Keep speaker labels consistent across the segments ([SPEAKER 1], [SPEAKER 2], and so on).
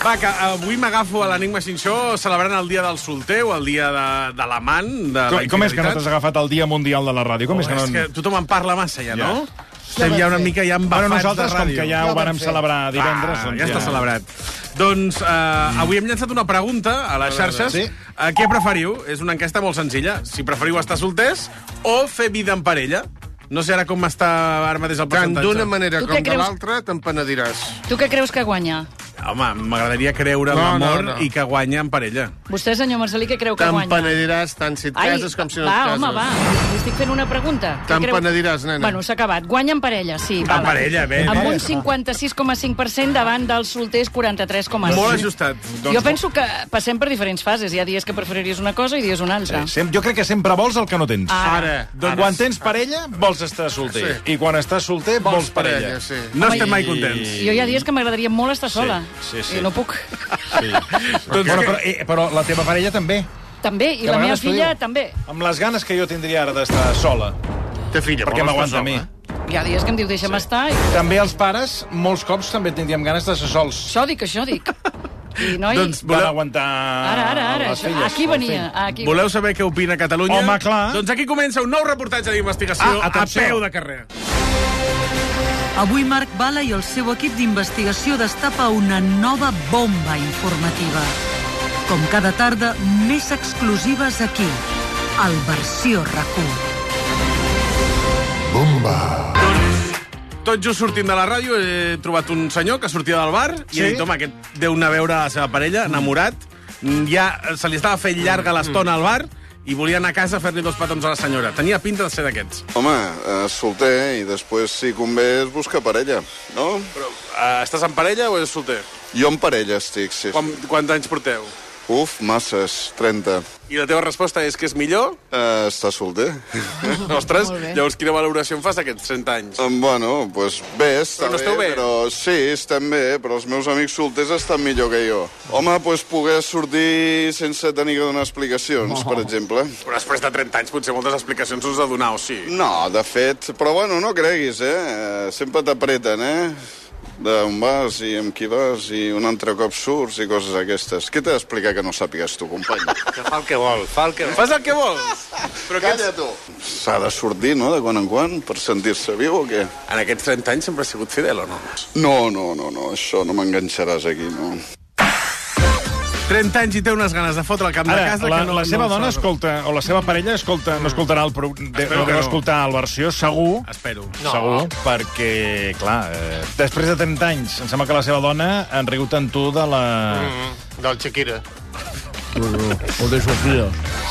[SPEAKER 1] Va, que avui m'agafo a l'Enigma Cinxó celebrant el dia del solter o el dia de, de l'amant. de
[SPEAKER 2] Com,
[SPEAKER 1] la
[SPEAKER 2] com és que no t'has
[SPEAKER 1] infidelitat.
[SPEAKER 2] agafat el Dia Mundial de la Ràdio? Com és que no...
[SPEAKER 1] És que tothom en parla massa ja, no?
[SPEAKER 2] Ja.
[SPEAKER 1] Estem ja una mica ja embafats
[SPEAKER 2] Bueno, nosaltres,
[SPEAKER 1] de
[SPEAKER 2] com
[SPEAKER 1] ràdio.
[SPEAKER 2] que ja ho
[SPEAKER 3] Ja ho vam
[SPEAKER 2] vàrem
[SPEAKER 3] fer.
[SPEAKER 2] celebrar divendres...
[SPEAKER 1] Ah,
[SPEAKER 2] doncs Mm.
[SPEAKER 1] ja està celebrat. Doncs eh, avui hem llançat una pregunta a les xarxes. Sí. Eh, què preferiu? És una enquesta molt senzilla. Si preferiu estar solters o fer vida en parella. No sé ara com està ara mateix el
[SPEAKER 3] Tant
[SPEAKER 1] percentatge.
[SPEAKER 3] d'una manera
[SPEAKER 4] Tu
[SPEAKER 3] com
[SPEAKER 4] què
[SPEAKER 3] de
[SPEAKER 4] creus?
[SPEAKER 3] l'altra, te'n penediràs.
[SPEAKER 4] Tu què creus que guanya?
[SPEAKER 1] Home, m'agradaria creure en
[SPEAKER 3] No,
[SPEAKER 1] l'amor
[SPEAKER 3] no, no.
[SPEAKER 1] i que guanya en parella.
[SPEAKER 4] Vostè, senyor Marcelí, què creu que
[SPEAKER 3] Te'n
[SPEAKER 4] guanya?
[SPEAKER 3] penediràs tant si et cases com si no
[SPEAKER 4] va,
[SPEAKER 3] et cases.
[SPEAKER 4] home, va. Li estic fent una pregunta. Què
[SPEAKER 3] Te'n penediràs, nena.
[SPEAKER 4] Bueno, s'ha acabat. Guanya en parella, sí.
[SPEAKER 1] En parella, bé.
[SPEAKER 4] Amb un 56,5% davant dels solters 43,5%.
[SPEAKER 1] Molt ajustat.
[SPEAKER 2] Doncs
[SPEAKER 4] Jo penso que passem per diferents fases. Hi ha dies que preferiries una cosa i dies una altra.
[SPEAKER 2] Eh, Sem jo crec que sempre vols el que no tens.
[SPEAKER 4] Ah.
[SPEAKER 3] Ara.
[SPEAKER 2] Doncs quan tens parella, vols estar solter. I quan estàs solter, vols,
[SPEAKER 3] Vols
[SPEAKER 2] parella.
[SPEAKER 3] parella, sí.
[SPEAKER 1] No
[SPEAKER 4] Home,
[SPEAKER 1] estem mai
[SPEAKER 2] i-
[SPEAKER 1] contents.
[SPEAKER 4] Jo hi ha dies que m'agradaria molt estar sola.
[SPEAKER 2] sí, sí.
[SPEAKER 4] I no puc.
[SPEAKER 1] Doncs
[SPEAKER 2] Bueno,
[SPEAKER 1] que-
[SPEAKER 2] però, eh, però la teva parella també.
[SPEAKER 4] També, i
[SPEAKER 2] Que a
[SPEAKER 4] la meva
[SPEAKER 2] vegades t'ho
[SPEAKER 4] filla
[SPEAKER 2] diu.
[SPEAKER 4] també.
[SPEAKER 2] Amb les ganes que jo tindria ara d'estar sola,
[SPEAKER 3] Té filla,
[SPEAKER 2] perquè
[SPEAKER 3] vol
[SPEAKER 2] m'aguanta
[SPEAKER 3] estar
[SPEAKER 2] a mi.
[SPEAKER 3] sola.
[SPEAKER 4] Hi ha dies que em diu deixa'm estar i...
[SPEAKER 2] També els pares, molts cops, també tindríem ganes d'estar sols.
[SPEAKER 4] Això dic, això dic. I, noi,
[SPEAKER 1] Doncs,
[SPEAKER 2] Van aguantar
[SPEAKER 4] ara, ara, ara.
[SPEAKER 2] les
[SPEAKER 4] Això,
[SPEAKER 2] filles,
[SPEAKER 4] aquí
[SPEAKER 2] el
[SPEAKER 4] venia.
[SPEAKER 2] fill.
[SPEAKER 4] Aquí.
[SPEAKER 1] Voleu saber què opina Catalunya?
[SPEAKER 2] Home, clar.
[SPEAKER 1] Doncs aquí comença un nou reportatge d'investigació
[SPEAKER 2] Ah,
[SPEAKER 1] a
[SPEAKER 2] atenció.
[SPEAKER 1] peu de carrer.
[SPEAKER 5] Avui Marc Bala i el seu equip d'investigació destapa una nova bomba informativa. Com cada tarda, més exclusives aquí, al Versió RAC1.
[SPEAKER 1] Tot just sortint de la ràdio he trobat un senyor que sortia del bar sí? i he dit, home, aquest deu anar a veure la seva parella, enamorat. Mm, Ja eh, se li estava fent llarga l'estona al bar i volia anar a casa a fer-li dos petons a la senyora. Tenia pinta de ser d'aquests.
[SPEAKER 6] Home, eh, solter i després, si convé, es busca parella, no?
[SPEAKER 1] Però uh, estàs en parella o és solter?
[SPEAKER 6] Jo en parella estic, sí.
[SPEAKER 1] Quan, quants anys porteu?
[SPEAKER 6] Uf, masses, 30.
[SPEAKER 1] I la teva resposta és que és millor?
[SPEAKER 6] Eh, està solter?
[SPEAKER 1] Ostres,
[SPEAKER 4] Molt bé.
[SPEAKER 1] llavors quina valoració en fas d'aquests 30 anys?
[SPEAKER 6] Eh, bueno, doncs pues bé, està
[SPEAKER 1] Però no esteu bé.
[SPEAKER 6] Però sí, estem bé, però els meus amics solters estan millor que jo. Home, doncs pues, poder sortir sense tenir que donar explicacions, per exemple.
[SPEAKER 1] Però després de 30 anys potser moltes explicacions us has de donar, o sí?
[SPEAKER 6] No, de fet, però bueno, no creguis, eh? Eh, Sempre t'apreten, eh? D'on vas i amb qui vas i un altre cop surts i coses aquestes. Què t'ha d'explicar que no sàpigues tu, company?
[SPEAKER 1] Fas el que vols. Però aquests,
[SPEAKER 6] Calla, tu! S'ha de sortir, no?, de quan en quan, per sentir-se viu o què?
[SPEAKER 1] en aquests 30 anys sempre has sigut fidel o no?
[SPEAKER 6] No, no, no, no, això no m'enganxaràs aquí, no.
[SPEAKER 1] 30 anys i té unes ganes de fotre el camp de
[SPEAKER 2] Ara,
[SPEAKER 1] casa...
[SPEAKER 2] la,
[SPEAKER 1] que no,
[SPEAKER 2] la seva
[SPEAKER 1] no
[SPEAKER 2] dona
[SPEAKER 1] saps.
[SPEAKER 2] escolta, o la seva parella escolta, no escoltarà el, pro- de,
[SPEAKER 1] Mm. Espero
[SPEAKER 2] no,
[SPEAKER 1] que
[SPEAKER 2] no.
[SPEAKER 1] no.
[SPEAKER 2] escoltar el versió, segur,
[SPEAKER 1] Espero.
[SPEAKER 2] no. Mm-hmm. segur, perquè, clar, eh, després de 30 anys, em sembla que la seva dona en riu tant tu de la... Mm-hmm.
[SPEAKER 3] Mm, Del Shakira.
[SPEAKER 1] Mm.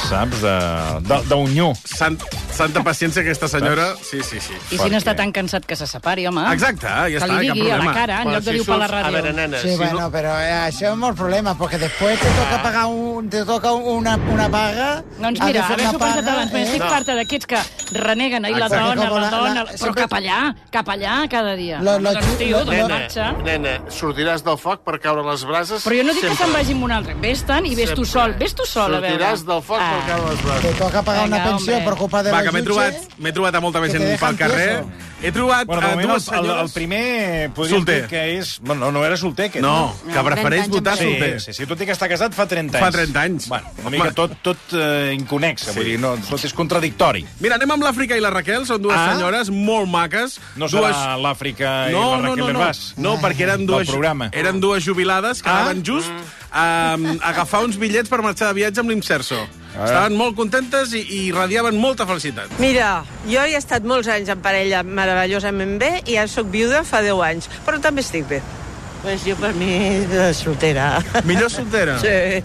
[SPEAKER 2] saps, de- de- d'un nyu.
[SPEAKER 1] Sant, santa paciència aquesta senyora. Sí, sí, sí.
[SPEAKER 4] I si no està tan cansat que se separi, home.
[SPEAKER 1] Exacte, ja
[SPEAKER 7] ah,
[SPEAKER 4] Ah. que
[SPEAKER 1] està,
[SPEAKER 4] li
[SPEAKER 1] cap
[SPEAKER 4] digui a la
[SPEAKER 1] problema.
[SPEAKER 4] cara, en
[SPEAKER 3] Bueno,
[SPEAKER 4] lloc de
[SPEAKER 3] si
[SPEAKER 4] dir-ho per la
[SPEAKER 3] surts- A veure,
[SPEAKER 4] ràdio.
[SPEAKER 3] nena,
[SPEAKER 7] Sí,
[SPEAKER 3] si
[SPEAKER 7] bueno,
[SPEAKER 3] no...
[SPEAKER 7] pero eh, això és molt problema, porque después te toca pagar un, te toca una, una paga...
[SPEAKER 4] Doncs
[SPEAKER 7] has de
[SPEAKER 4] mira,
[SPEAKER 7] fer
[SPEAKER 4] haver-s'ho
[SPEAKER 7] una paga,
[SPEAKER 4] pensat abans, eh? estic farta d'aquests que reneguen ahir la
[SPEAKER 7] Exacte.
[SPEAKER 4] dona,
[SPEAKER 7] Com
[SPEAKER 4] la
[SPEAKER 7] la-
[SPEAKER 4] dona...
[SPEAKER 7] la-
[SPEAKER 4] Però
[SPEAKER 7] sempre-
[SPEAKER 4] cap allà, cap allà cada dia.
[SPEAKER 7] La- la-
[SPEAKER 4] Doncs tio,
[SPEAKER 7] la-
[SPEAKER 4] doncs
[SPEAKER 7] la-
[SPEAKER 4] marxa.
[SPEAKER 3] nena, sortiràs del foc per caure a les brases...
[SPEAKER 4] Però jo no dic que
[SPEAKER 3] sempre.
[SPEAKER 4] se'n vagi amb un altre. Ves-te'n i ves tu sol. Ves tu sol, a veure. Ah.
[SPEAKER 3] Sortiràs del foc per caure a les brases.
[SPEAKER 7] Te toca pagar
[SPEAKER 4] Vinga,
[SPEAKER 7] una pensió
[SPEAKER 4] hombre.
[SPEAKER 7] per culpa de
[SPEAKER 1] Va,
[SPEAKER 7] la
[SPEAKER 1] que m'he
[SPEAKER 7] jutge.
[SPEAKER 1] trobat, m'he trobat a molta més
[SPEAKER 7] que
[SPEAKER 1] gent
[SPEAKER 7] te
[SPEAKER 1] pel
[SPEAKER 7] dejan
[SPEAKER 1] carrer. He trobat
[SPEAKER 2] Bueno, de
[SPEAKER 1] a
[SPEAKER 2] moment,
[SPEAKER 1] dues
[SPEAKER 2] el, el, el
[SPEAKER 1] senyores...
[SPEAKER 2] primer podríem
[SPEAKER 1] Solter.
[SPEAKER 2] dir que és... Bueno, no era solter, aquest.
[SPEAKER 1] No, que prefereix votar
[SPEAKER 2] Sí,
[SPEAKER 1] solter.
[SPEAKER 2] sí, sí, tot i que està casat fa 30 anys.
[SPEAKER 1] Fa 30 anys.
[SPEAKER 2] Bueno, una mica
[SPEAKER 1] Home.
[SPEAKER 2] tot, tot eh, inconexa, sí. vull dir, no, tot és contradictori.
[SPEAKER 1] Mira, anem amb l'Àfrica i la Raquel, són dues
[SPEAKER 2] Ah.
[SPEAKER 1] senyores molt maques.
[SPEAKER 2] No serà
[SPEAKER 1] dues...
[SPEAKER 2] l'Àfrica i
[SPEAKER 1] No,
[SPEAKER 2] la
[SPEAKER 1] no,
[SPEAKER 2] Raquel
[SPEAKER 1] no, no,
[SPEAKER 2] Herbàs.
[SPEAKER 1] no, perquè eren
[SPEAKER 2] Del
[SPEAKER 1] dues,
[SPEAKER 2] programa.
[SPEAKER 1] eren dues jubilades que
[SPEAKER 2] Ah.
[SPEAKER 1] anaven just a, a agafar uns bitllets per marxar de viatge amb l'Imserso. Estaven molt contentes i, i radiaven molta felicitat.
[SPEAKER 8] Mira, jo he estat molts anys en parella meravellosament bé i ja sóc viuda fa 10 anys, però també estic bé.
[SPEAKER 7] Pues jo per mi
[SPEAKER 9] eh,
[SPEAKER 7] de soltera.
[SPEAKER 1] Millor soltera?
[SPEAKER 7] Sí.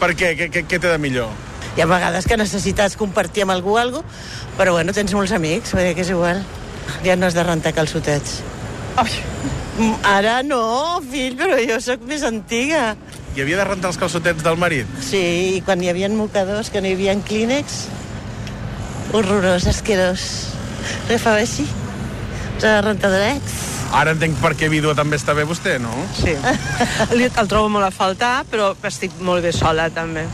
[SPEAKER 1] Per què? Què, què, què té de millor?
[SPEAKER 7] Hi ha vegades que necessites compartir amb algú algo, però bueno, tens molts amics, vull dir que és igual.
[SPEAKER 9] Ja no has de rentar calçotets. Ai. Ara no, fill, però jo sóc més antiga.
[SPEAKER 1] I havia de rentar els calçotets del marit.
[SPEAKER 9] Sí, i quan hi havia mocadors, que no hi havia clínex, horrorós, asquerós. Agafava així, de rentadorets.
[SPEAKER 1] Ara entenc per què vídua també està bé vostè, no?
[SPEAKER 8] Sí. Li- El trobo molt a faltar, però estic molt bé sola, també.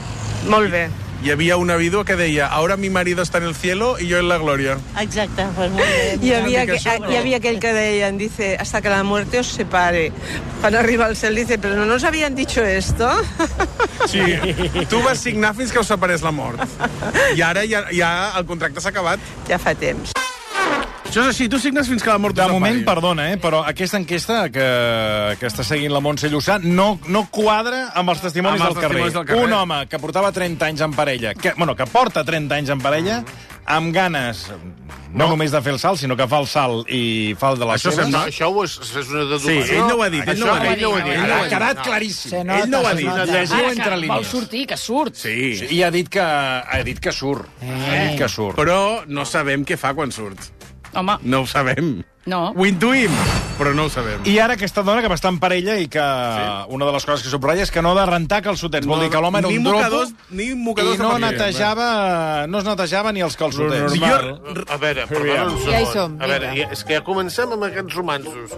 [SPEAKER 8] Molt bé.
[SPEAKER 1] Hi havia una vídua que deia «Ahora mi marido está en el cielo y yo en la gloria».
[SPEAKER 9] Exacte, pues molt bé.
[SPEAKER 8] Hi havia,
[SPEAKER 1] mica
[SPEAKER 8] que, ah,
[SPEAKER 1] sobre.
[SPEAKER 8] hi havia aquell que deien, dice, hasta que la muerte os separe. Quan arriba al cel, dice, però no nos habían dicho esto?
[SPEAKER 1] Sí, tu vas signar fins que us separés la mort. I ara ja, ja el contracte s'ha acabat.
[SPEAKER 8] Ja fa temps.
[SPEAKER 1] Això és així, tu signes fins que la mort us
[SPEAKER 2] De
[SPEAKER 1] separi.
[SPEAKER 2] moment, perdona, eh, però aquesta enquesta que, que està seguint la Montse Llussà no, no quadra amb els testimonis,
[SPEAKER 1] Amb els
[SPEAKER 2] del, carrer.
[SPEAKER 1] testimonis del carrer.
[SPEAKER 2] Un home que portava 30 anys en parella, que, bueno, que porta 30 anys en parella, amb ganes no, no només de fer el salt, sinó que fa el salt i fa el de les
[SPEAKER 3] Això
[SPEAKER 2] seves.
[SPEAKER 3] sembla- això ho és, és una deducció.
[SPEAKER 2] Sí, ell no ho ha dit, ell
[SPEAKER 3] Això
[SPEAKER 2] no ho ha dit.
[SPEAKER 3] ell no ho ha dit.
[SPEAKER 2] Ha
[SPEAKER 3] ell no ho ha dit.
[SPEAKER 2] quedat
[SPEAKER 3] No.
[SPEAKER 2] claríssim.
[SPEAKER 3] Se
[SPEAKER 2] Ell no ho ha dit.
[SPEAKER 3] se nota.
[SPEAKER 2] Llegir
[SPEAKER 4] Ah,
[SPEAKER 2] entre
[SPEAKER 4] que Vol
[SPEAKER 2] línies.
[SPEAKER 4] sortir, que surt.
[SPEAKER 1] Sí.
[SPEAKER 2] Sí, I ha dit que, ha dit que surt.
[SPEAKER 3] Eh.
[SPEAKER 2] Ha dit que surt.
[SPEAKER 1] Però no sabem què fa quan surt.
[SPEAKER 4] Home,
[SPEAKER 1] No ho sabem.
[SPEAKER 4] no.
[SPEAKER 1] Ho intuïm, però no ho sabem.
[SPEAKER 2] I ara aquesta dona que va estar en parella i que sí. una de les coses que subratlla és que no ha de rentar calçotets. No, Vol dir que l'home era
[SPEAKER 1] ni
[SPEAKER 2] un
[SPEAKER 1] mocadors-
[SPEAKER 2] dropo
[SPEAKER 1] ni mocadors
[SPEAKER 2] i
[SPEAKER 1] de
[SPEAKER 2] no
[SPEAKER 1] paper.
[SPEAKER 2] netejava, Eh, no es netejava ni els calçotets.
[SPEAKER 3] A veure, perdona un segon.
[SPEAKER 2] Ja hi som,
[SPEAKER 3] a veure,
[SPEAKER 2] vinga.
[SPEAKER 3] ja, és que ja comencem amb aquests romansos.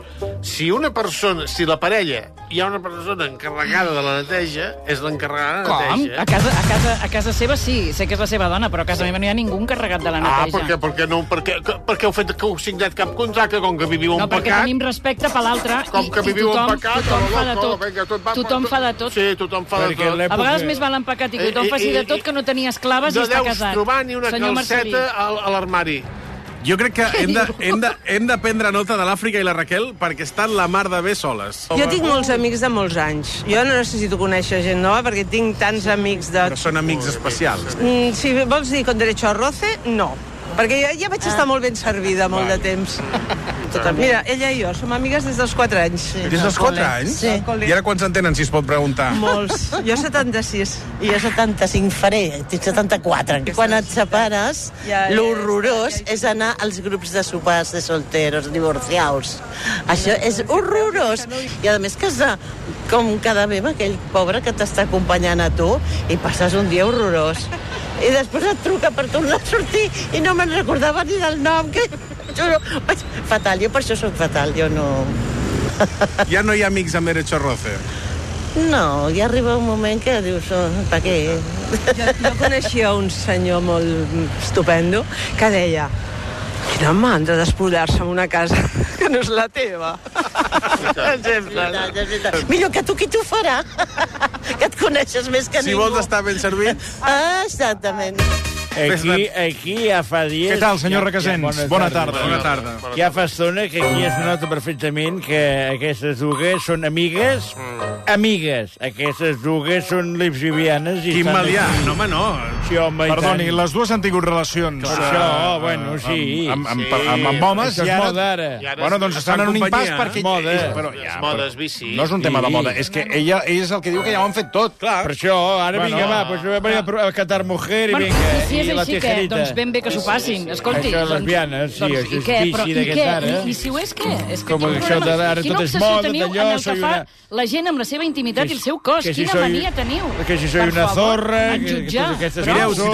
[SPEAKER 3] Si una persona, si la parella, hi ha una persona encarregada de la neteja, és l'encarregada de la
[SPEAKER 4] Com?
[SPEAKER 3] neteja.
[SPEAKER 4] A casa, a, casa, a casa seva sí, sé que és la seva dona, però a casa meva no hi ha ningú encarregat de la
[SPEAKER 3] Ah,
[SPEAKER 4] neteja.
[SPEAKER 3] perquè, perquè, no, perquè, perquè heu fet que heu signat cap contracte, com que viviu un
[SPEAKER 4] No, perquè
[SPEAKER 3] pecat.
[SPEAKER 4] tenim respecte per l'altre.
[SPEAKER 3] Com
[SPEAKER 4] i-
[SPEAKER 3] que
[SPEAKER 4] i
[SPEAKER 3] viviu
[SPEAKER 4] tothom-
[SPEAKER 3] en pecat, a
[SPEAKER 4] tothom
[SPEAKER 3] la
[SPEAKER 4] fa de
[SPEAKER 3] loco,
[SPEAKER 4] tot.
[SPEAKER 3] venga, tot va-
[SPEAKER 4] Tothom fa de tot.
[SPEAKER 3] Sí, tothom fa de
[SPEAKER 4] Perquè
[SPEAKER 3] tot.
[SPEAKER 4] A vegades més val empacat i que tothom faci de tot que no tenir esclaves i estar
[SPEAKER 3] No
[SPEAKER 4] casat.
[SPEAKER 3] deus trobar ni una
[SPEAKER 4] Senyor Marcelí.
[SPEAKER 3] calceta a, a l'armari.
[SPEAKER 1] Jo crec que hem de, hem de, hem de prendre nota de l'Àfrica i la Raquel perquè estan la mar de bé soles.
[SPEAKER 8] Jo tinc molts amics de molts anys. Jo no necessito conèixer gent nova perquè tinc tants amics de...
[SPEAKER 1] Però són amics especials.
[SPEAKER 8] Mm, si vols dir con derecho a roce, no. Perquè ja,
[SPEAKER 9] Ah.
[SPEAKER 8] ja vaig estar molt ben servida molt de temps. Mira, ella i jo som amigues des dels 4 anys. Sí,
[SPEAKER 1] Des dels 4 anys?
[SPEAKER 8] Sí.
[SPEAKER 1] I ara quants en tenen, si es pot preguntar?
[SPEAKER 8] Molts. Jo 76.
[SPEAKER 9] I jo 75 faré, tinc 74. I quan et separes,
[SPEAKER 8] Ja, ja,
[SPEAKER 9] l'horrorós és anar als grups de sopars de solteros, divorciaus. Això és horrorós. I a més que és de, com cada vegada amb aquell pobre que t'està acompanyant a tu i passes un dia horrorós. I després et truca per tornar a sortir i no me'n recordava ni del nom. Que... Jo, no- fatal, jo per això sóc fatal, jo no...
[SPEAKER 1] Ja no hi ha amics amb derecho a roce.
[SPEAKER 9] No, ja arriba un moment que dius, oh, per què?
[SPEAKER 8] Jo, jo coneixia un senyor molt estupendo que deia quina mandra despullar-se en una casa que no és la teva.
[SPEAKER 9] veritat, és veritat. Millor que tu qui t'ho farà, que et coneixes més que
[SPEAKER 1] Si
[SPEAKER 9] ningú.
[SPEAKER 1] vols estar ben servit...
[SPEAKER 9] Ah, exactament.
[SPEAKER 10] Aquí, aquí ja fa dies...
[SPEAKER 2] Què tal, senyor Requesens? Bona tarda.
[SPEAKER 10] Bona
[SPEAKER 2] Bona
[SPEAKER 10] tarda.
[SPEAKER 2] tarda.
[SPEAKER 10] Ja fa estona que aquí es nota perfectament que aquestes dues són amigues, amigues. Aquestes dues són lesbianes i...
[SPEAKER 2] Quin
[SPEAKER 10] estan
[SPEAKER 2] malià,
[SPEAKER 10] aquí.
[SPEAKER 2] no, home, no.
[SPEAKER 10] Sí, home, i
[SPEAKER 2] Perdoni,
[SPEAKER 10] tant. Ah,
[SPEAKER 2] les dues han tingut relacions...
[SPEAKER 10] Per
[SPEAKER 2] eh,
[SPEAKER 10] això, bueno, sí.
[SPEAKER 2] Amb, amb,
[SPEAKER 10] Sí.
[SPEAKER 2] amb, amb, amb homes,
[SPEAKER 10] Això és
[SPEAKER 2] i ara...
[SPEAKER 10] moda, ara. I ara
[SPEAKER 2] Bueno, doncs
[SPEAKER 10] es-
[SPEAKER 2] estan en un
[SPEAKER 10] fan
[SPEAKER 2] impàs
[SPEAKER 10] companyia,
[SPEAKER 2] perquè...
[SPEAKER 10] eh? Moda.
[SPEAKER 2] Ell- Però, ja,
[SPEAKER 10] Les
[SPEAKER 2] però,
[SPEAKER 10] modes, bici.
[SPEAKER 2] No és un tema de
[SPEAKER 10] Sí.
[SPEAKER 2] moda, és que ella, ell és el que diu que ja ho han fet tot. Clar.
[SPEAKER 10] Per això, ara vinga, va, pues, venga, a catar mujer i
[SPEAKER 4] Bueno,
[SPEAKER 10] vinga,
[SPEAKER 4] i si és
[SPEAKER 10] i la
[SPEAKER 4] així, què?
[SPEAKER 10] tijerita.
[SPEAKER 4] Doncs ben bé que s'ho passin. Escolti,
[SPEAKER 10] Això,
[SPEAKER 4] doncs-
[SPEAKER 10] lesbianes, sí,
[SPEAKER 4] doncs,
[SPEAKER 10] això
[SPEAKER 4] i
[SPEAKER 10] és
[SPEAKER 4] què?
[SPEAKER 10] bici
[SPEAKER 4] Però, i
[SPEAKER 10] d'aquests
[SPEAKER 4] què?
[SPEAKER 10] ara.
[SPEAKER 4] I, I si ho és, què? És
[SPEAKER 10] Com
[SPEAKER 4] quin
[SPEAKER 10] això
[SPEAKER 4] problema?
[SPEAKER 10] de ara
[SPEAKER 4] Quina
[SPEAKER 10] tot és
[SPEAKER 4] obsessió
[SPEAKER 10] moda,
[SPEAKER 4] teniu
[SPEAKER 10] d'allò,
[SPEAKER 4] en el que
[SPEAKER 10] soy
[SPEAKER 4] fa
[SPEAKER 10] una-
[SPEAKER 4] la gent amb la seva intimitat
[SPEAKER 10] Que
[SPEAKER 4] i el
[SPEAKER 10] si-
[SPEAKER 4] seu cos.
[SPEAKER 10] que si
[SPEAKER 4] Quina
[SPEAKER 10] soy-
[SPEAKER 4] mania teniu?
[SPEAKER 10] que si soy
[SPEAKER 4] Per
[SPEAKER 10] una
[SPEAKER 4] favor,
[SPEAKER 10] zorra,
[SPEAKER 4] m'han
[SPEAKER 10] que- que
[SPEAKER 4] jutjar.
[SPEAKER 10] totes aquestes
[SPEAKER 4] Però-
[SPEAKER 10] coses.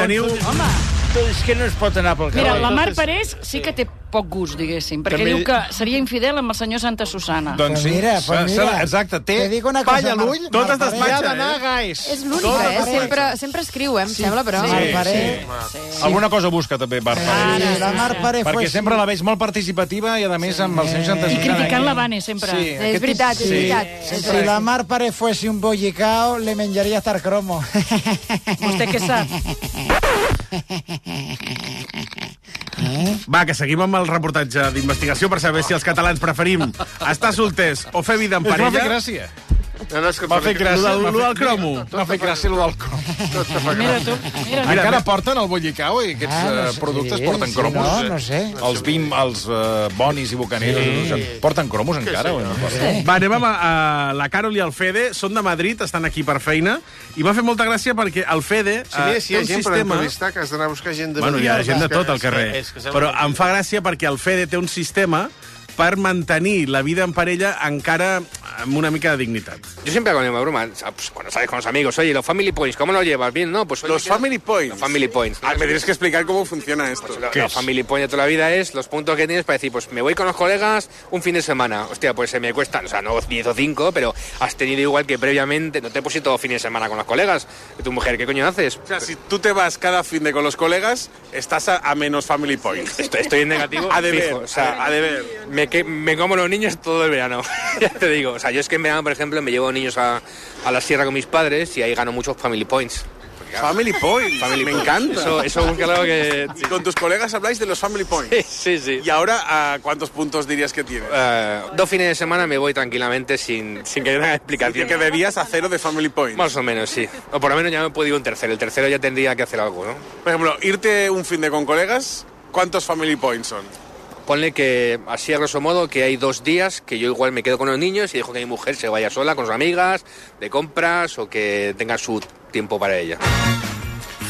[SPEAKER 4] Home,
[SPEAKER 10] És que no es pot anar pel carrer.
[SPEAKER 4] Mira, la Mar Parés sí que té poc gust, diguéssim, perquè
[SPEAKER 10] També-
[SPEAKER 4] diu que seria infidel amb el senyor Santa Susana.
[SPEAKER 2] Doncs sí,
[SPEAKER 7] mira, pues
[SPEAKER 2] s'ha- s'ha-
[SPEAKER 7] mira.
[SPEAKER 2] exacte, té
[SPEAKER 7] Te digo una cosa,
[SPEAKER 2] palla a
[SPEAKER 7] Mar-
[SPEAKER 2] l'ull,
[SPEAKER 7] Mar Parés.
[SPEAKER 2] desmatxa,
[SPEAKER 7] Hi ha d'anar,
[SPEAKER 2] eh? guys.
[SPEAKER 11] És l'única, eh? Sempre, sempre escriu, eh, em sembla, però...
[SPEAKER 2] Sí, sí. Alguna cosa busca també Mar Parés.
[SPEAKER 7] Sí, la Mar Paré fue
[SPEAKER 2] Perquè
[SPEAKER 7] així.
[SPEAKER 2] sempre la veig molt participativa i, a més, amb el senyor Santa
[SPEAKER 4] I
[SPEAKER 2] Susana.
[SPEAKER 4] criticant la Vane, sempre.
[SPEAKER 2] Sí, És aquest veritat, tip- és sí. veritat.
[SPEAKER 7] Si la Mar Paré fuese un bollicao, le menjaria estar cromo.
[SPEAKER 4] Vostè què sap?
[SPEAKER 9] Eh?
[SPEAKER 1] Va, que seguim amb el reportatge d'investigació per saber si els catalans preferim estar solters o fer vida en
[SPEAKER 2] Es va
[SPEAKER 1] parella.
[SPEAKER 2] fer gràcia.
[SPEAKER 3] No, no, és que
[SPEAKER 2] M'ha fet gràcia.
[SPEAKER 1] Lo del-
[SPEAKER 2] m'ha
[SPEAKER 1] lo
[SPEAKER 2] fet-
[SPEAKER 1] del cromo.
[SPEAKER 2] M'ha fet gràcia lo del cromo.
[SPEAKER 3] Mira
[SPEAKER 4] tu, mira
[SPEAKER 3] tu.
[SPEAKER 2] Encara porten el bollicau i aquests
[SPEAKER 3] Ah, no
[SPEAKER 2] eh,
[SPEAKER 3] sé,
[SPEAKER 2] productes
[SPEAKER 3] sí,
[SPEAKER 2] porten
[SPEAKER 3] sí,
[SPEAKER 2] cromos.
[SPEAKER 3] no,
[SPEAKER 2] eh?
[SPEAKER 3] no sé.
[SPEAKER 2] Els bim, els eh, bonis i bucaneros.
[SPEAKER 1] Sí.
[SPEAKER 2] no sé, Porten cromos encara? o no?
[SPEAKER 1] Va, anem amb eh, la Carol i el Fede. Són de Madrid, estan aquí per feina. I m'ha fet molta gràcia perquè el Fede
[SPEAKER 3] Si mira, si hi
[SPEAKER 1] eh,
[SPEAKER 3] ha
[SPEAKER 1] té un
[SPEAKER 3] gent per
[SPEAKER 1] sistema...
[SPEAKER 3] entrevistar, que has d'anar a buscar gent de...
[SPEAKER 1] Bueno, hi ha
[SPEAKER 3] Madrid,
[SPEAKER 1] gent de
[SPEAKER 3] que-
[SPEAKER 1] tot al
[SPEAKER 3] és que-
[SPEAKER 1] carrer.
[SPEAKER 3] és que sembla
[SPEAKER 1] Però
[SPEAKER 3] que-
[SPEAKER 1] em fa gràcia perquè el Fede té un sistema per mantenir la vida en parella encara amb una mica de dignitat.
[SPEAKER 12] Yo siempre hago la misma broma. Ah, pues, bueno, sabes, con los amigos. Oye, los Family Points, ¿cómo lo llevas? Bien, ¿no? Pues, los Family Points. Los Family Points.
[SPEAKER 13] Ah, me tienes que explicar cómo funciona esto.
[SPEAKER 12] Pues, lo-
[SPEAKER 13] ¿Qué es?
[SPEAKER 12] los Family Points de toda la vida es los puntos que tienes para decir, pues me voy con los colegas un fin de semana. Hostia, pues se me cuesta, o sea, no 10 o 5, pero has tenido igual que previamente, no te puse todo fin de semana con los colegas. Y tu mujer, ¿qué coño haces?
[SPEAKER 13] O sea, si tú te vas cada fin de con los colegas, estás a, a menos family points.
[SPEAKER 12] Estoy, estoy en negativo.
[SPEAKER 13] A deber,
[SPEAKER 12] fijo, o sea,
[SPEAKER 13] a deber.
[SPEAKER 12] Me, que- me como los niños todo el verano. ya te digo. O sea, yo es que en verano, por ejemplo, me llevo niños a, a la sierra con mis padres y ahí gano muchos family points.
[SPEAKER 13] Family points,
[SPEAKER 12] Family
[SPEAKER 13] me
[SPEAKER 12] points.
[SPEAKER 13] encanta.
[SPEAKER 12] Eso, eso búscalo que.
[SPEAKER 13] Con tus colegas habláis de los family points.
[SPEAKER 12] Sí, sí.
[SPEAKER 13] ¿Y ahora a cuántos puntos dirías que tienes?
[SPEAKER 12] Eh, dos fines de semana me voy tranquilamente sin, sin que den explicación.
[SPEAKER 13] que debías a cero de Family Points.
[SPEAKER 12] Más o menos, sí. O por lo menos ya me puedo ir un tercero. El tercero ya tendría que hacer algo, ¿no?
[SPEAKER 13] Por ejemplo, irte un fin de con colegas, ¿cuántos family points son?
[SPEAKER 12] Ponle que, así a grosso modo, que hay dos días que yo igual me quedo con los niños y dejo que mi mujer se vaya sola con sus amigas, de compras o que tenga su tiempo para ella.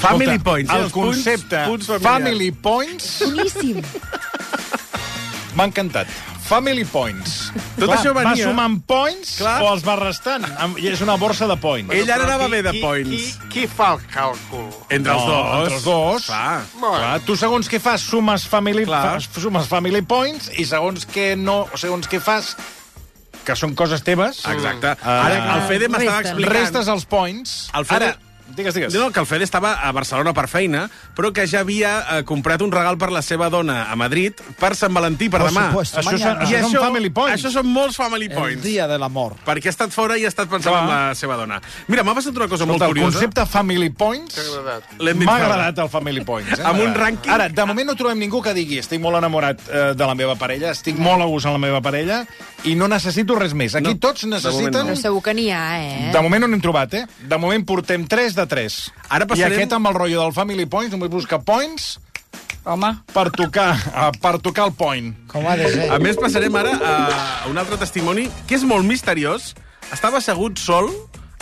[SPEAKER 2] Family
[SPEAKER 12] Escolta,
[SPEAKER 2] Points,
[SPEAKER 12] el
[SPEAKER 2] el concepte
[SPEAKER 12] punts- punts
[SPEAKER 2] punts
[SPEAKER 12] familiars.
[SPEAKER 2] Family Points... Boníssim. M'ha encantat. Family Points.
[SPEAKER 1] Tot
[SPEAKER 2] Clar,
[SPEAKER 1] això
[SPEAKER 2] Va
[SPEAKER 1] venia-
[SPEAKER 2] sumant points
[SPEAKER 1] Clar.
[SPEAKER 2] o els va restant. Am- I és una borsa de points.
[SPEAKER 1] Ell ara anava bé de
[SPEAKER 2] Qui-
[SPEAKER 1] points.
[SPEAKER 2] qui-
[SPEAKER 3] Qui fa el càlcul?
[SPEAKER 1] Entre els
[SPEAKER 2] No,
[SPEAKER 1] dos. Ah,
[SPEAKER 2] Entre els dos.
[SPEAKER 1] Clar.
[SPEAKER 2] Clar, tu segons què fas, sumes family,
[SPEAKER 1] Clar.
[SPEAKER 2] fas, sumes family points i segons què no, o segons què fas, que són coses teves... eh,
[SPEAKER 1] Exacte.
[SPEAKER 2] Ah.
[SPEAKER 1] Ara, el Fede m'estava explicant... Ah,
[SPEAKER 2] Restes els points.
[SPEAKER 1] El Fede...
[SPEAKER 2] Ara, Digues, digues.
[SPEAKER 1] No, que el Fede estava a Barcelona per feina, però que ja havia eh, comprat un regal per la seva dona a Madrid per Sant Valentí, per
[SPEAKER 2] Por
[SPEAKER 1] demà.
[SPEAKER 2] supuesto, Això mañana. són-
[SPEAKER 1] I
[SPEAKER 2] això són family points.
[SPEAKER 1] Això són molts family points.
[SPEAKER 2] dia de l'amor.
[SPEAKER 1] Perquè ha estat fora i ha estat pensant
[SPEAKER 2] Clar.
[SPEAKER 1] en la seva dona. Mira, m'ha passat una cosa
[SPEAKER 2] Escolta,
[SPEAKER 1] molt
[SPEAKER 2] el
[SPEAKER 1] curiosa.
[SPEAKER 2] concepte Family Points
[SPEAKER 1] L'hem dit
[SPEAKER 2] m'ha
[SPEAKER 1] fora.
[SPEAKER 2] agradat el Family Points. Eh?
[SPEAKER 1] Amb un
[SPEAKER 2] M'agrada.
[SPEAKER 1] rànquing-
[SPEAKER 2] Ara, de moment no trobem ningú que digui estic molt enamorat eh, de la meva parella, estic molt a gust amb la meva parella i no necessito res més. Aquí
[SPEAKER 1] No,
[SPEAKER 2] no, tots
[SPEAKER 1] de moment
[SPEAKER 2] necessiten...
[SPEAKER 11] Però segur que n'hi ha, eh?
[SPEAKER 2] De moment no n'hem trobat, eh? De moment portem 3 de 3.
[SPEAKER 1] Ara passarem-
[SPEAKER 2] I aquest amb el rotllo del Family Points només busca points Home. per tocar, eh, per tocar el point.
[SPEAKER 7] Com ha de ser.
[SPEAKER 1] A més, passarem ara a un altre testimoni que és molt misteriós. Estava assegut sol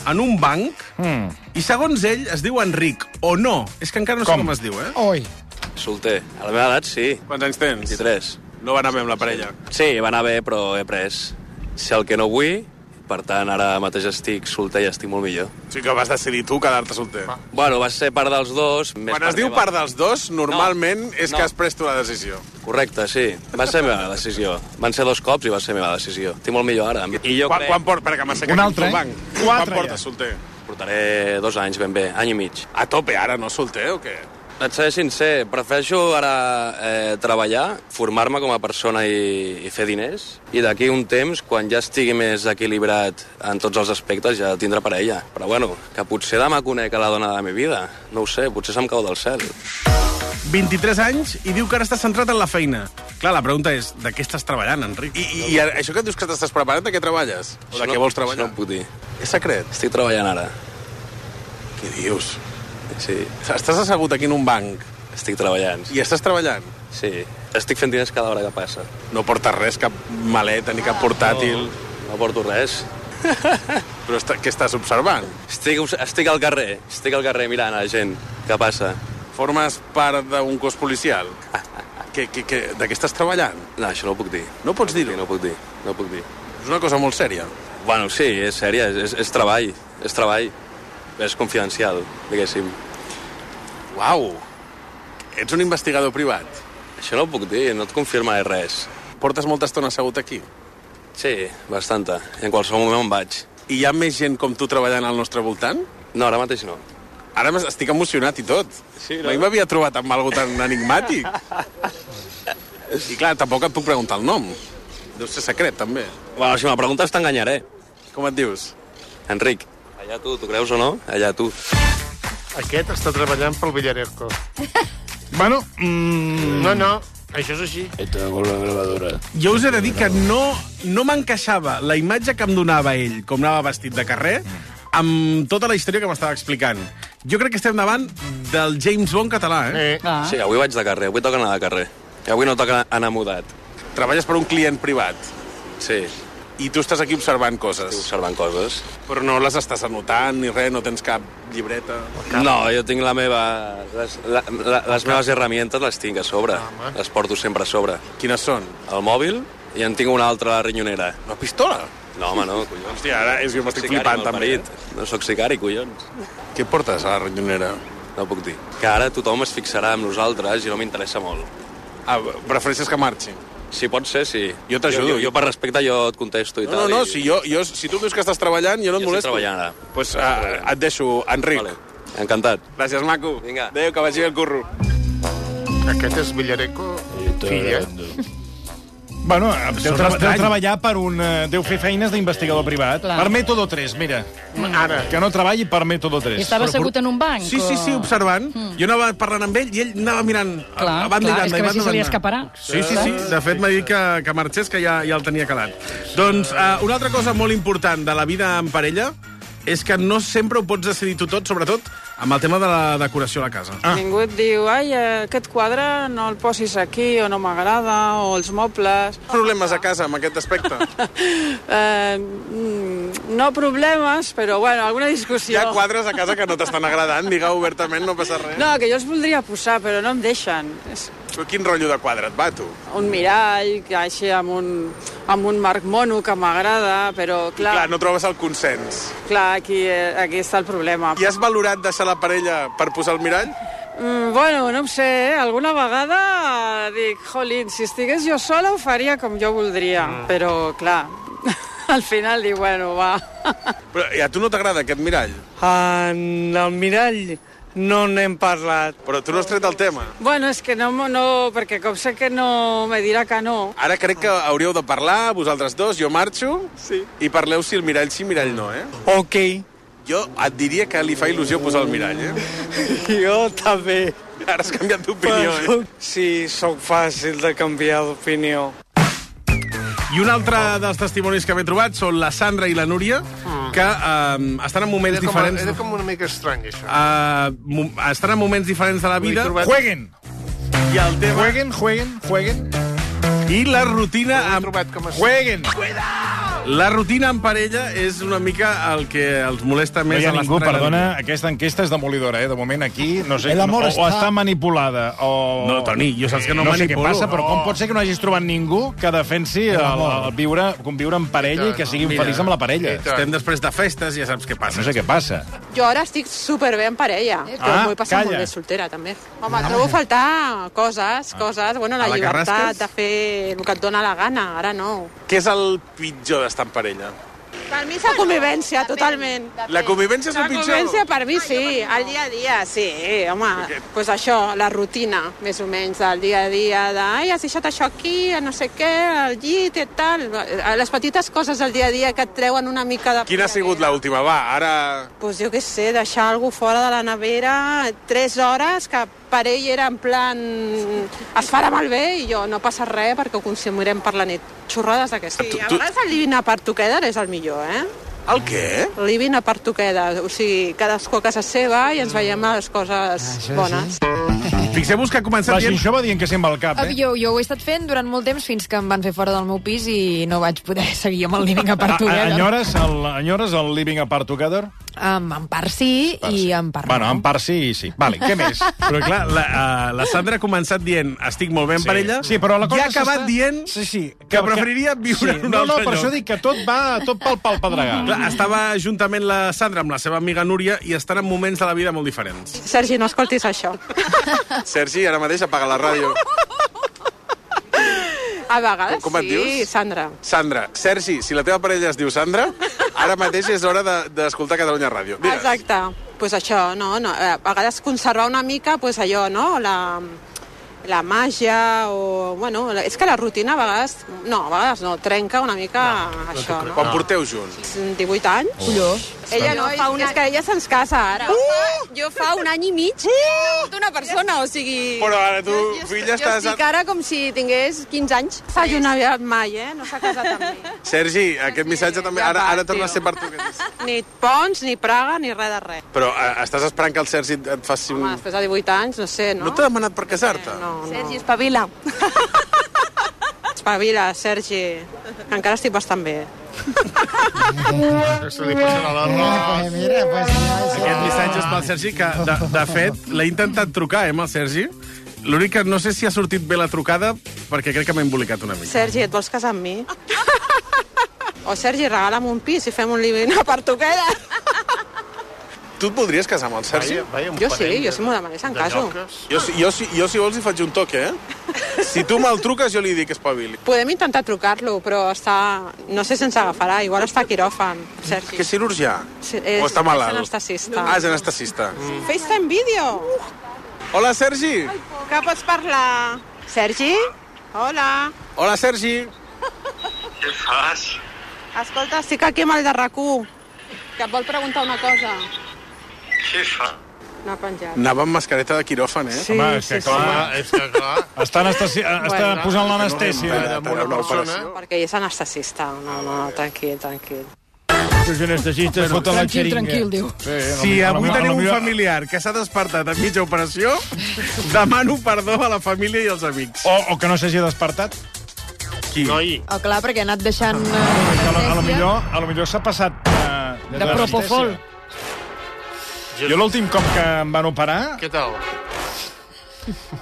[SPEAKER 1] en un banc
[SPEAKER 14] Hmm.
[SPEAKER 1] i, segons ell, es diu Enric, o no. És que encara no sé com es diu, eh?
[SPEAKER 14] Oh.
[SPEAKER 7] Oi.
[SPEAKER 14] Solter. A la meva edat, sí. Quants anys tens? 23. No va anar bé amb la parella? Sí, va anar bé, però he pres. Sé el que no vull, per tant, ara mateix estic solter i estic molt millor.
[SPEAKER 13] O sigui que vas decidir tu quedar-te solter.
[SPEAKER 14] Bueno, va ser part dels dos... Més
[SPEAKER 13] Quan es diu
[SPEAKER 14] meva.
[SPEAKER 13] part dels dos, normalment és
[SPEAKER 14] no.
[SPEAKER 13] que has pres tu la decisió.
[SPEAKER 14] Correcte, sí. Va ser meva decisió. Van ser dos cops i va ser meva decisió. Estic molt millor ara. I jo
[SPEAKER 13] quan,
[SPEAKER 14] crec...
[SPEAKER 13] quan port, perquè m'ha
[SPEAKER 14] Un
[SPEAKER 13] secat
[SPEAKER 14] altre, eh?
[SPEAKER 13] banc.
[SPEAKER 14] Quatre,
[SPEAKER 13] quan portes solter?
[SPEAKER 14] Portaré dos anys ben bé, any i mig.
[SPEAKER 13] A tope ara, no solter o què?
[SPEAKER 14] Et seré sincer, prefereixo ara eh, treballar, formar-me com a persona i, i fer diners, i d'aquí un temps, quan ja estigui més equilibrat en tots els aspectes, ja tindré parella. Però bueno, que potser demà conec a la dona de la meva vida. No ho sé, potser se'm cau del cel.
[SPEAKER 1] 23 anys i diu que ara està centrat en la feina. Clar, la pregunta és, de què estàs treballant, Enric?
[SPEAKER 13] I, I ara, això que et dius que t'estàs preparant, de què treballes? O de
[SPEAKER 14] Això
[SPEAKER 13] què
[SPEAKER 14] no-
[SPEAKER 13] vols
[SPEAKER 14] això
[SPEAKER 13] treballar?
[SPEAKER 14] No ho puc dir.
[SPEAKER 13] És secret.
[SPEAKER 14] Estic treballant ara.
[SPEAKER 13] Què dius?
[SPEAKER 14] Sí.
[SPEAKER 13] Estàs assegut aquí en un banc.
[SPEAKER 14] Estic treballant.
[SPEAKER 13] I estàs treballant?
[SPEAKER 14] Sí. Estic fent diners cada hora que passa.
[SPEAKER 13] No portes res, cap maleta ni cap portàtil.
[SPEAKER 14] No, no porto res.
[SPEAKER 13] Però està, què estàs observant?
[SPEAKER 14] Estic, estic al carrer, estic al carrer mirant a la gent. Què passa?
[SPEAKER 13] Formes part d'un cos policial? Que, que, que, de què estàs treballant?
[SPEAKER 14] No, això no ho puc dir.
[SPEAKER 13] No pots dir-ho?
[SPEAKER 14] No ho puc dir, no ho puc dir.
[SPEAKER 13] És una cosa molt sèria.
[SPEAKER 14] Bueno, sí, és sèria, és, és, és treball, és treball. És confidencial, diguéssim.
[SPEAKER 13] Uau! Ets un investigador privat.
[SPEAKER 14] Això no ho puc dir, no et confirmaré res.
[SPEAKER 13] Portes molta estona assegut aquí.
[SPEAKER 14] Sí, bastanta. I en qualsevol moment em vaig.
[SPEAKER 13] I hi ha més gent com tu treballant al nostre voltant?
[SPEAKER 14] No, ara mateix no.
[SPEAKER 13] Ara m'es- estic emocionat i tot. Sí, no? Mai m'havia trobat amb algú tan enigmàtic. I clar, tampoc et puc preguntar el nom. Deu ser secret, també.
[SPEAKER 14] Bueno, si me preguntes t'enganyaré.
[SPEAKER 13] Com et dius?
[SPEAKER 14] Enric. Allà tu, tu creus o no? Allà tu.
[SPEAKER 3] Aquest està treballant pel Villarejo.
[SPEAKER 2] Bueno, mm,
[SPEAKER 3] No, no. Això és així.
[SPEAKER 15] Esta con la grabadora.
[SPEAKER 1] Jo us he de dir que no, no m'encaixava la imatge que em donava ell, com anava vestit de carrer, amb tota la història que m'estava explicant. Jo crec que estem davant del James Bond català, eh?
[SPEAKER 3] eh.
[SPEAKER 4] Ah.
[SPEAKER 14] Sí, avui vaig de carrer, avui toca anar de carrer. I avui no toca anar mudat.
[SPEAKER 13] Treballes per un client privat
[SPEAKER 14] Sí,
[SPEAKER 13] i tu estàs aquí observant coses.
[SPEAKER 14] observant coses.
[SPEAKER 13] Però no les estàs anotant ni res, no tens cap llibreta.
[SPEAKER 14] No, jo tinc la meva... Les, la, la, les meves herramientes les tinc a sobre. Les porto sempre a sobre.
[SPEAKER 13] Ah, Quines són?
[SPEAKER 14] El mòbil i en tinc una altra a la rinyonera.
[SPEAKER 13] Una pistola?
[SPEAKER 14] No, home, no, collons.
[SPEAKER 13] Hòstia, ara és que m'estic
[SPEAKER 14] Sicari,
[SPEAKER 13] flipant, també.
[SPEAKER 14] malparit. No sóc sicari, collons.
[SPEAKER 13] Què portes a la ronyonera?
[SPEAKER 14] No puc dir. Que ara tothom es fixarà amb nosaltres i no m'interessa molt.
[SPEAKER 13] Ah, prefereixes que marxi?
[SPEAKER 14] Si pot ser, sí.
[SPEAKER 13] Jo t'ajudo.
[SPEAKER 14] Jo, jo, per respecte jo et contesto i
[SPEAKER 13] No, no,
[SPEAKER 14] tal.
[SPEAKER 13] no,
[SPEAKER 14] i...
[SPEAKER 13] si, jo, jo, si tu em dius que estàs treballant, jo no et
[SPEAKER 14] Jo estic
[SPEAKER 13] molesto.
[SPEAKER 14] treballant ara.
[SPEAKER 13] pues, ah, et deixo, Enric.
[SPEAKER 14] Vale. Encantat.
[SPEAKER 13] Gràcies, maco.
[SPEAKER 14] Vinga.
[SPEAKER 13] Adéu, que vagi bé el curro.
[SPEAKER 3] Aquest és Villareco, fill, eh?
[SPEAKER 2] Bueno, eh, deu,
[SPEAKER 3] Són
[SPEAKER 2] tra deu
[SPEAKER 3] estrany.
[SPEAKER 2] treballar per un... eh, Deu fer feines d'investigador privat.
[SPEAKER 4] Clar. Mm.
[SPEAKER 2] Per Método 3, mira.
[SPEAKER 3] Ara.
[SPEAKER 2] Que no treballi per Método 3.
[SPEAKER 4] I estava assegut en un banc?
[SPEAKER 1] Sí, sí, sí, observant. Mm. Jo anava parlant amb ell i ell anava mirant.
[SPEAKER 4] Clar,
[SPEAKER 13] Ah,
[SPEAKER 1] a banda i
[SPEAKER 4] clar,
[SPEAKER 1] banda,
[SPEAKER 4] és que
[SPEAKER 1] i
[SPEAKER 4] a veure
[SPEAKER 1] banda,
[SPEAKER 4] si se li
[SPEAKER 1] banda.
[SPEAKER 4] escaparà.
[SPEAKER 1] Sí, sí, sí. De fet, m'ha dit que, que marxés, que ja, ja el tenia calat. Doncs uh, una altra cosa molt important de la vida en parella és que no sempre ho pots decidir tu tot, sobretot amb el tema de la decoració a la casa.
[SPEAKER 16] Ah. Ningú et diu, ai, eh, aquest quadre no el posis aquí, o no m'agrada, o els mobles...
[SPEAKER 13] Problemes a casa amb aquest aspecte?
[SPEAKER 16] Eh, mm, no problemes, però, bueno, alguna
[SPEAKER 13] Hi
[SPEAKER 16] discussió.
[SPEAKER 13] ha quadres a casa que no eh? t'estan agradant, digue obertament, no passa res.
[SPEAKER 16] No, que jo els voldria posar, però no em deixen. És
[SPEAKER 13] Tu quin rotllo de quadre et va, tu?
[SPEAKER 16] un mirall, que així amb un, amb un marc mono que m'agrada, però,
[SPEAKER 13] Clar.
[SPEAKER 16] clar,
[SPEAKER 13] Clar, no trobes el consens.
[SPEAKER 16] clar aquí, eh, aquí està el problema.
[SPEAKER 13] I has valorat deixar la parella per posar el mirall?
[SPEAKER 16] Mm, bueno, no ho sé, eh? alguna vegada dic, jolín, si estigués jo sola ho faria com jo voldria, mm. però clar, al final dic, bueno, va.
[SPEAKER 13] Però i a tu no t'agrada aquest mirall?
[SPEAKER 16] En el mirall no n'hem parlat.
[SPEAKER 13] Però tu no has tret el tema.
[SPEAKER 16] Bueno, és que no, mo- no, perquè com sé que no me dirà que no,
[SPEAKER 13] Ara crec que hauríeu de parlar, vosaltres dos, jo marxo, sí. i parleu si el mirall sí, mirall no, eh?
[SPEAKER 15] Ok.
[SPEAKER 13] Jo et diria que li fa il·lusió posar el mirall, eh?
[SPEAKER 15] Jo també.
[SPEAKER 13] Ara has canviat d'opinió, eh?
[SPEAKER 15] Sí, sóc fàcil de canviar d'opinió.
[SPEAKER 1] I un altre dels testimonis que m'he trobat són la Sandra i la Núria,
[SPEAKER 13] Ah.
[SPEAKER 1] que eh, estan en moments
[SPEAKER 3] Era com,
[SPEAKER 1] diferents...
[SPEAKER 3] era com una mica estrany, això.
[SPEAKER 1] eh, mo- estan en moments diferents de
[SPEAKER 3] Ho
[SPEAKER 1] la
[SPEAKER 3] he
[SPEAKER 1] vida.
[SPEAKER 3] trobat-
[SPEAKER 2] Jueguen!
[SPEAKER 1] I el tema...
[SPEAKER 2] Jueguen, jueguen, jueguen.
[SPEAKER 1] I la rutina... Amb...
[SPEAKER 2] Jueguen!
[SPEAKER 1] La rutina en parella és una mica el que els molesta
[SPEAKER 2] No
[SPEAKER 1] més.
[SPEAKER 2] hi ha
[SPEAKER 1] a les
[SPEAKER 2] ningú,
[SPEAKER 1] parelles.
[SPEAKER 2] perdona, aquesta enquesta és demolidora, eh? De moment aquí, no sé,
[SPEAKER 1] El
[SPEAKER 2] o,
[SPEAKER 1] amor
[SPEAKER 2] o
[SPEAKER 1] está-
[SPEAKER 2] està manipulada, o...
[SPEAKER 1] No, Toni, jo saps que no
[SPEAKER 2] no sé què
[SPEAKER 1] manipulo.
[SPEAKER 2] passa, però com
[SPEAKER 1] No.
[SPEAKER 2] pot ser que no hagis trobat ningú que defensi el, el viure, conviure en parella i que sigui feliç amb la parella?
[SPEAKER 1] Estem després de festes, ja saps què passa.
[SPEAKER 2] No sé què passa.
[SPEAKER 17] Jo ara estic superbé en parella, eh, però
[SPEAKER 2] Ah,
[SPEAKER 17] m'ho he passat
[SPEAKER 2] calla.
[SPEAKER 17] molt bé soltera, també.
[SPEAKER 13] Ah,
[SPEAKER 17] Home, trobo a faltar coses, coses, bueno,
[SPEAKER 13] A
[SPEAKER 17] la,
[SPEAKER 13] la que rasques?
[SPEAKER 17] llibertat de fer el que et dóna la gana, ara no.
[SPEAKER 13] Què és el pitjor d'estar en parella?
[SPEAKER 17] Per mi és la convivència, totalment.
[SPEAKER 13] La convivència és el
[SPEAKER 17] La
[SPEAKER 13] pitjor?
[SPEAKER 17] convivència Ah, per mi sí, el dia a dia, sí, home, doncs pues això, la rutina, més o menys, del dia a dia, de, ai, has deixat això aquí, no sé què, al llit i tal, les petites coses del dia a dia que et treuen una mica de...
[SPEAKER 13] Quina ha sigut l'última? Va, ara...
[SPEAKER 17] Pues jo què sé, deixar algú fora de la nevera tres hores, que per ell era en plan... es farà malbé i jo no passa res perquè ho consumirem per la nit. Xorrades d'aquestes. Sí, a vegades el living apart together és el millor, eh?
[SPEAKER 13] El què?
[SPEAKER 17] Living apart together, o sigui, cadascú a casa seva i ens
[SPEAKER 13] Mm.
[SPEAKER 17] veiem a les coses bones.
[SPEAKER 1] Fixeu-vos que ha començat
[SPEAKER 2] La Xinxó va dient que sí amb el cap,
[SPEAKER 11] Ah,
[SPEAKER 2] eh?
[SPEAKER 11] Jo, jo ho he estat fent durant molt temps fins que em van fer fora del meu pis i no vaig poder seguir amb el living a part
[SPEAKER 2] A- a-
[SPEAKER 11] together.
[SPEAKER 2] Enyores el, enyores el living apart together?
[SPEAKER 11] Um, en part sí, i en part
[SPEAKER 2] Bueno, en part sí i sí. Vale, què més?
[SPEAKER 1] Però clar, la, uh, la Sandra ha començat dient estic molt bé en
[SPEAKER 2] Sí.
[SPEAKER 1] parella
[SPEAKER 2] Sí, però la cosa
[SPEAKER 1] i ha acabat
[SPEAKER 2] s'està-
[SPEAKER 1] dient
[SPEAKER 2] sí, sí,
[SPEAKER 1] que, preferiria viure en un
[SPEAKER 2] no,
[SPEAKER 1] altre
[SPEAKER 2] No, per
[SPEAKER 1] lloc.
[SPEAKER 2] això dic que tot va tot pel palpedregar.
[SPEAKER 1] Clar, estava juntament la Sandra amb la seva amiga Núria i estan en moments de la vida molt diferents.
[SPEAKER 17] Sergi, no escoltis això.
[SPEAKER 13] Sergi, ara mateix apaga la ràdio.
[SPEAKER 17] A vegades
[SPEAKER 13] Com- com et
[SPEAKER 17] sí,
[SPEAKER 13] dius?
[SPEAKER 17] Sandra.
[SPEAKER 13] Sandra, Sergi, si la teva parella es diu Sandra, ara mateix és hora de- d'escoltar de, Catalunya Ràdio. Digues.
[SPEAKER 17] Exacte. Pues això, no? no eh, a vegades conservar una mica pues allò, no? La, la màgia o... Bueno, la- és que la rutina a vegades... No, a vegades no, trenca una mica no, això, no?
[SPEAKER 13] Quan porteu junts?
[SPEAKER 17] 18 anys. Colló. Ella no, fa una... és que ella se'ns casa ara.
[SPEAKER 18] Uh! Jo fa un any i mig uh! d'una persona, o sigui...
[SPEAKER 13] Però ara tu, filla,
[SPEAKER 18] Jo
[SPEAKER 13] estàs...
[SPEAKER 18] estic ara com si tingués 15 anys.
[SPEAKER 17] S'ha llunaviat mai, eh? No s'ha casat amb mi.
[SPEAKER 13] Sergi, aquest missatge també... Ara, ara torna a ser per tu.
[SPEAKER 17] Ni Pons, ni Praga, ni res de res.
[SPEAKER 13] Però eh, estàs esperant que el Sergi et- et faci un...
[SPEAKER 17] Home, després de 18 anys, no sé, no? Eh,
[SPEAKER 13] No t'ha demanat per casar-te?
[SPEAKER 17] No, no.
[SPEAKER 18] Sergi, espavila.
[SPEAKER 17] Espavila, Sergi. que Encara estic bastant bé.
[SPEAKER 3] Se li passarà l'arròs.
[SPEAKER 7] Eh, Mira, pues...
[SPEAKER 1] Aquest missatge és pel Sergi, que, de, de fet, l'he intentat trucar, eh, amb el Sergi. L'únic que no sé si ha sortit bé la trucada, perquè crec que m'he embolicat una mica.
[SPEAKER 17] Sergi, et vols casar amb mi? O Sergi, regala'm un pis i fem un living a Portuguera.
[SPEAKER 13] Tu et podries casar amb el Sergi?
[SPEAKER 3] Vaya- vaya un
[SPEAKER 17] Jo sí, jo si m'ho demanessin,
[SPEAKER 13] de
[SPEAKER 17] caso.
[SPEAKER 13] Jo, si- jo, si, jo si vols hi faig un toque, eh? Si tu me'l truques, jo li dic espavili.
[SPEAKER 17] Podem intentar trucar-lo, però està... No sé si ens agafarà, igual està a quiròfan, Sergi.
[SPEAKER 13] Que és cirurgià?
[SPEAKER 17] Sí, és-
[SPEAKER 13] o està malalt?
[SPEAKER 17] és anestesista.
[SPEAKER 13] Ah, és anestesista. Mm.
[SPEAKER 17] FaceTime vídeo!
[SPEAKER 13] Hola, Sergi!
[SPEAKER 17] Que pots parlar? Sergi? Hola.
[SPEAKER 13] Hola, Sergi!
[SPEAKER 19] Què fas?
[SPEAKER 17] Escolta, estic aquí amb el de rac que et vol preguntar una cosa.
[SPEAKER 19] Què fa?
[SPEAKER 17] No ha penjat.
[SPEAKER 13] Anava amb mascareta de quiròfan, eh?
[SPEAKER 17] Sí, Home, és que sí, clar,
[SPEAKER 2] sí.
[SPEAKER 3] és que clar...
[SPEAKER 2] Està, anestesi... està
[SPEAKER 17] Bueno.
[SPEAKER 2] posant l'anestèsia.
[SPEAKER 3] Amb una persona...
[SPEAKER 17] Perquè ell és anestesista. No, no, tranquil, tranquil.
[SPEAKER 10] Els anestesistes
[SPEAKER 1] Bueno,
[SPEAKER 10] foten la
[SPEAKER 1] tranquil,
[SPEAKER 10] xeringa.
[SPEAKER 1] tranquil,
[SPEAKER 10] diu.
[SPEAKER 1] Si avui teniu un familiar que s'ha despertat a mitja operació, demano perdó a la família i als amics.
[SPEAKER 2] O, o que no s'hagi despertat.
[SPEAKER 1] Qui?
[SPEAKER 3] Noi.
[SPEAKER 11] Oh, clar, perquè ha anat deixant... eh,
[SPEAKER 2] A lo, a lo
[SPEAKER 11] anestèsia.
[SPEAKER 2] millor, a lo millor s'ha passat... eh,
[SPEAKER 11] De
[SPEAKER 2] l'anestèsia.
[SPEAKER 11] propofol.
[SPEAKER 2] Jo l'últim cop que em van operar
[SPEAKER 3] Què tal?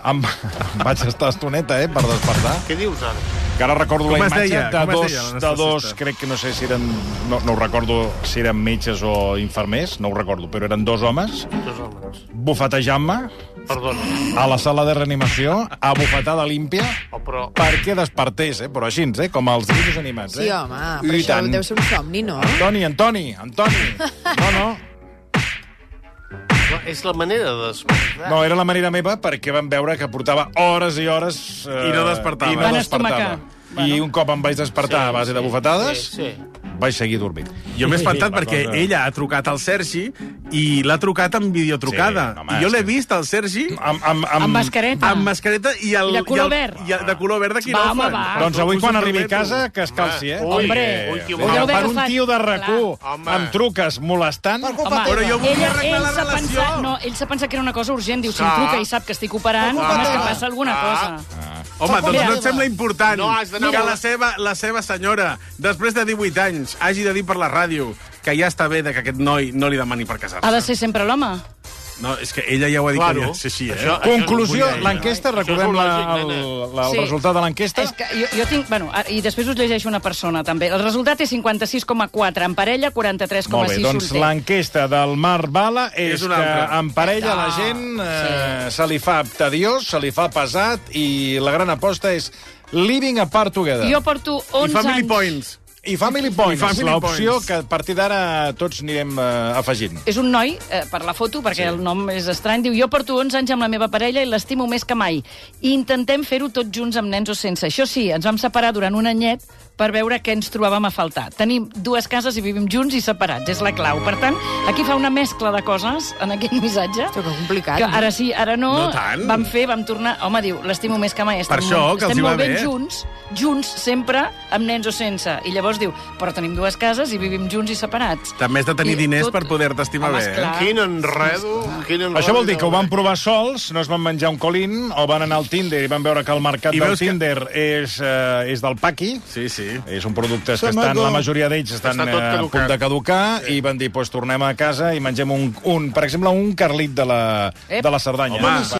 [SPEAKER 2] em, em vaig estar estoneta, eh, per despertar.
[SPEAKER 3] Què dius ara?
[SPEAKER 2] Que ara recordo
[SPEAKER 3] Com
[SPEAKER 2] la
[SPEAKER 3] es
[SPEAKER 2] imatge
[SPEAKER 3] deia?
[SPEAKER 2] de,
[SPEAKER 3] Com es
[SPEAKER 2] dos,
[SPEAKER 3] deia l'anestesista?
[SPEAKER 2] de dos, crec que no sé si eren... No, no ho recordo si eren metges o infermers, no ho recordo, però eren dos homes
[SPEAKER 3] Dos homes.
[SPEAKER 2] bufetejant-me
[SPEAKER 3] Perdona. Ah,
[SPEAKER 2] a la sala de reanimació a bufetada límpia
[SPEAKER 3] Oh, però...
[SPEAKER 2] perquè despertés, eh? però així, eh? com els dibuixos animats. Eh?
[SPEAKER 11] Sí, home, però
[SPEAKER 2] I
[SPEAKER 11] això
[SPEAKER 2] tant.
[SPEAKER 11] deu ser un somni, no?
[SPEAKER 2] Antoni, Antoni, Antoni. No, no.
[SPEAKER 3] Clar, És la manera de... despertar.
[SPEAKER 2] No, era la manera meva perquè vam veure que portava hores i hores... Eh,
[SPEAKER 3] I no despertava.
[SPEAKER 2] I no
[SPEAKER 3] Van
[SPEAKER 2] despertava.
[SPEAKER 3] estomacar.
[SPEAKER 2] I un cop em vaig despertar
[SPEAKER 3] Sí,
[SPEAKER 2] a base de
[SPEAKER 3] sí,
[SPEAKER 2] bufetades,
[SPEAKER 3] sí,
[SPEAKER 2] vaig seguir dormint.
[SPEAKER 1] Jo m'he espantat
[SPEAKER 2] La
[SPEAKER 1] perquè
[SPEAKER 2] cosa-
[SPEAKER 1] ella ha trucat al Sergi i l'ha trucat amb videotrucada.
[SPEAKER 2] Sí,
[SPEAKER 1] Sí,
[SPEAKER 2] home,
[SPEAKER 1] I jo
[SPEAKER 2] és
[SPEAKER 1] l'he vist, al Sergi...
[SPEAKER 2] Amb, amb,
[SPEAKER 4] Amb mascareta.
[SPEAKER 1] Amb mascareta i el...
[SPEAKER 4] I de color
[SPEAKER 1] el-
[SPEAKER 4] verd.
[SPEAKER 1] I el, de color verd de quiròfan.
[SPEAKER 4] home, va.
[SPEAKER 2] Doncs avui,
[SPEAKER 1] Us ho
[SPEAKER 2] quan arribi a
[SPEAKER 1] prometo.
[SPEAKER 2] casa, que es calci, eh?
[SPEAKER 1] Ui,
[SPEAKER 2] Perquè-
[SPEAKER 1] ui, que
[SPEAKER 2] Mira,
[SPEAKER 1] bueno.
[SPEAKER 2] per un
[SPEAKER 4] agafat.
[SPEAKER 2] tio de racó,
[SPEAKER 4] Clar.
[SPEAKER 3] Home.
[SPEAKER 2] em truques molestant...
[SPEAKER 4] Home,
[SPEAKER 2] Però jo vull
[SPEAKER 4] ella,
[SPEAKER 2] arreglar
[SPEAKER 4] ell
[SPEAKER 2] la
[SPEAKER 4] s'ha
[SPEAKER 2] relació.
[SPEAKER 4] pensat, no, ell s'ha pensat que era una cosa urgent. Diu, si em
[SPEAKER 3] Ah.
[SPEAKER 4] truca i sap que estic operant,
[SPEAKER 3] Ah.
[SPEAKER 4] home, és que
[SPEAKER 3] Ah.
[SPEAKER 4] passa alguna
[SPEAKER 3] Ah.
[SPEAKER 4] cosa.
[SPEAKER 1] Home, doncs
[SPEAKER 4] Mira.
[SPEAKER 1] no et sembla important
[SPEAKER 3] No has d'anar
[SPEAKER 1] que
[SPEAKER 3] a-
[SPEAKER 1] la seva, la seva senyora, després de 18 anys, hagi de dir per la ràdio que ja està bé de que aquest noi no li demani per casar-se.
[SPEAKER 4] Ha de ser sempre l'home.
[SPEAKER 1] No, és que ella ja ho ha dit
[SPEAKER 3] Claro.
[SPEAKER 1] que havia de ser així, eh?
[SPEAKER 3] Això- això
[SPEAKER 2] Conclusió,
[SPEAKER 3] és bonica,
[SPEAKER 2] l'enquesta,
[SPEAKER 3] eh?
[SPEAKER 2] recordem la,
[SPEAKER 3] Això és
[SPEAKER 2] el,
[SPEAKER 3] lògic,
[SPEAKER 2] la, el
[SPEAKER 4] Sí.
[SPEAKER 2] resultat de l'enquesta.
[SPEAKER 4] És que jo, jo tinc... Bueno, a- i després us llegeixo una persona, també. El resultat és 56,4 en parella, 43,6
[SPEAKER 2] Molt bé, doncs
[SPEAKER 4] solter.
[SPEAKER 2] l'enquesta del Marc Bala és,
[SPEAKER 1] És
[SPEAKER 2] és
[SPEAKER 1] una
[SPEAKER 2] que
[SPEAKER 1] altra.
[SPEAKER 2] en parella la
[SPEAKER 4] Ah,
[SPEAKER 2] gent eh, se li fa tediós, se li fa pesat i la gran aposta és living apart together.
[SPEAKER 4] Jo porto 11 anys...
[SPEAKER 2] points. I family points,
[SPEAKER 1] family
[SPEAKER 2] l'opció
[SPEAKER 1] points.
[SPEAKER 2] que a partir d'ara tots anirem eh, afegint.
[SPEAKER 4] És un noi, eh, per la foto, perquè sí. el nom és estrany, diu, jo porto 11 anys amb la meva parella i l'estimo més que mai. I intentem fer-ho tots junts amb nens o sense. Això sí, ens vam separar durant un anyet per veure què ens trobàvem a faltar. Tenim dues cases i vivim junts i separats, és la clau. Per tant, aquí fa una mescla de coses en aquest missatge.
[SPEAKER 11] Això que complicat.
[SPEAKER 4] Que ara sí, ara no.
[SPEAKER 11] No tant.
[SPEAKER 4] Vam fer, vam tornar... Home, diu, l'estimo més que mai. Estem
[SPEAKER 1] Per això,
[SPEAKER 4] molt,
[SPEAKER 1] que els hi
[SPEAKER 4] estem
[SPEAKER 1] va
[SPEAKER 4] molt ben
[SPEAKER 1] bé.
[SPEAKER 4] junts, junts sempre, amb nens o sense. I llavors diu, però tenim dues cases i vivim junts i separats.
[SPEAKER 1] També has de tenir
[SPEAKER 4] I
[SPEAKER 1] diners
[SPEAKER 4] tot-
[SPEAKER 1] per poder-te estimar
[SPEAKER 4] Home,
[SPEAKER 1] bé. eh?
[SPEAKER 4] esclar.
[SPEAKER 3] Quin enredo, quin enredo.
[SPEAKER 2] Això vol dir que ho van provar sols, no es van menjar un colín, o van anar al Tinder i van veure que el mercat
[SPEAKER 1] I
[SPEAKER 2] del
[SPEAKER 1] veus que-
[SPEAKER 2] Tinder és, eh, és del paqui.
[SPEAKER 1] Sí, sí.
[SPEAKER 2] És un producte que
[SPEAKER 1] Som
[SPEAKER 2] estan,
[SPEAKER 1] adult.
[SPEAKER 2] la majoria d'ells estan
[SPEAKER 1] Està tot
[SPEAKER 2] eh, a punt
[SPEAKER 1] caducat.
[SPEAKER 2] de caducar i van dir, doncs tornem a casa i mengem un, un per exemple, un carlit de la,
[SPEAKER 4] Ep.
[SPEAKER 2] de la Cerdanya.
[SPEAKER 1] Home.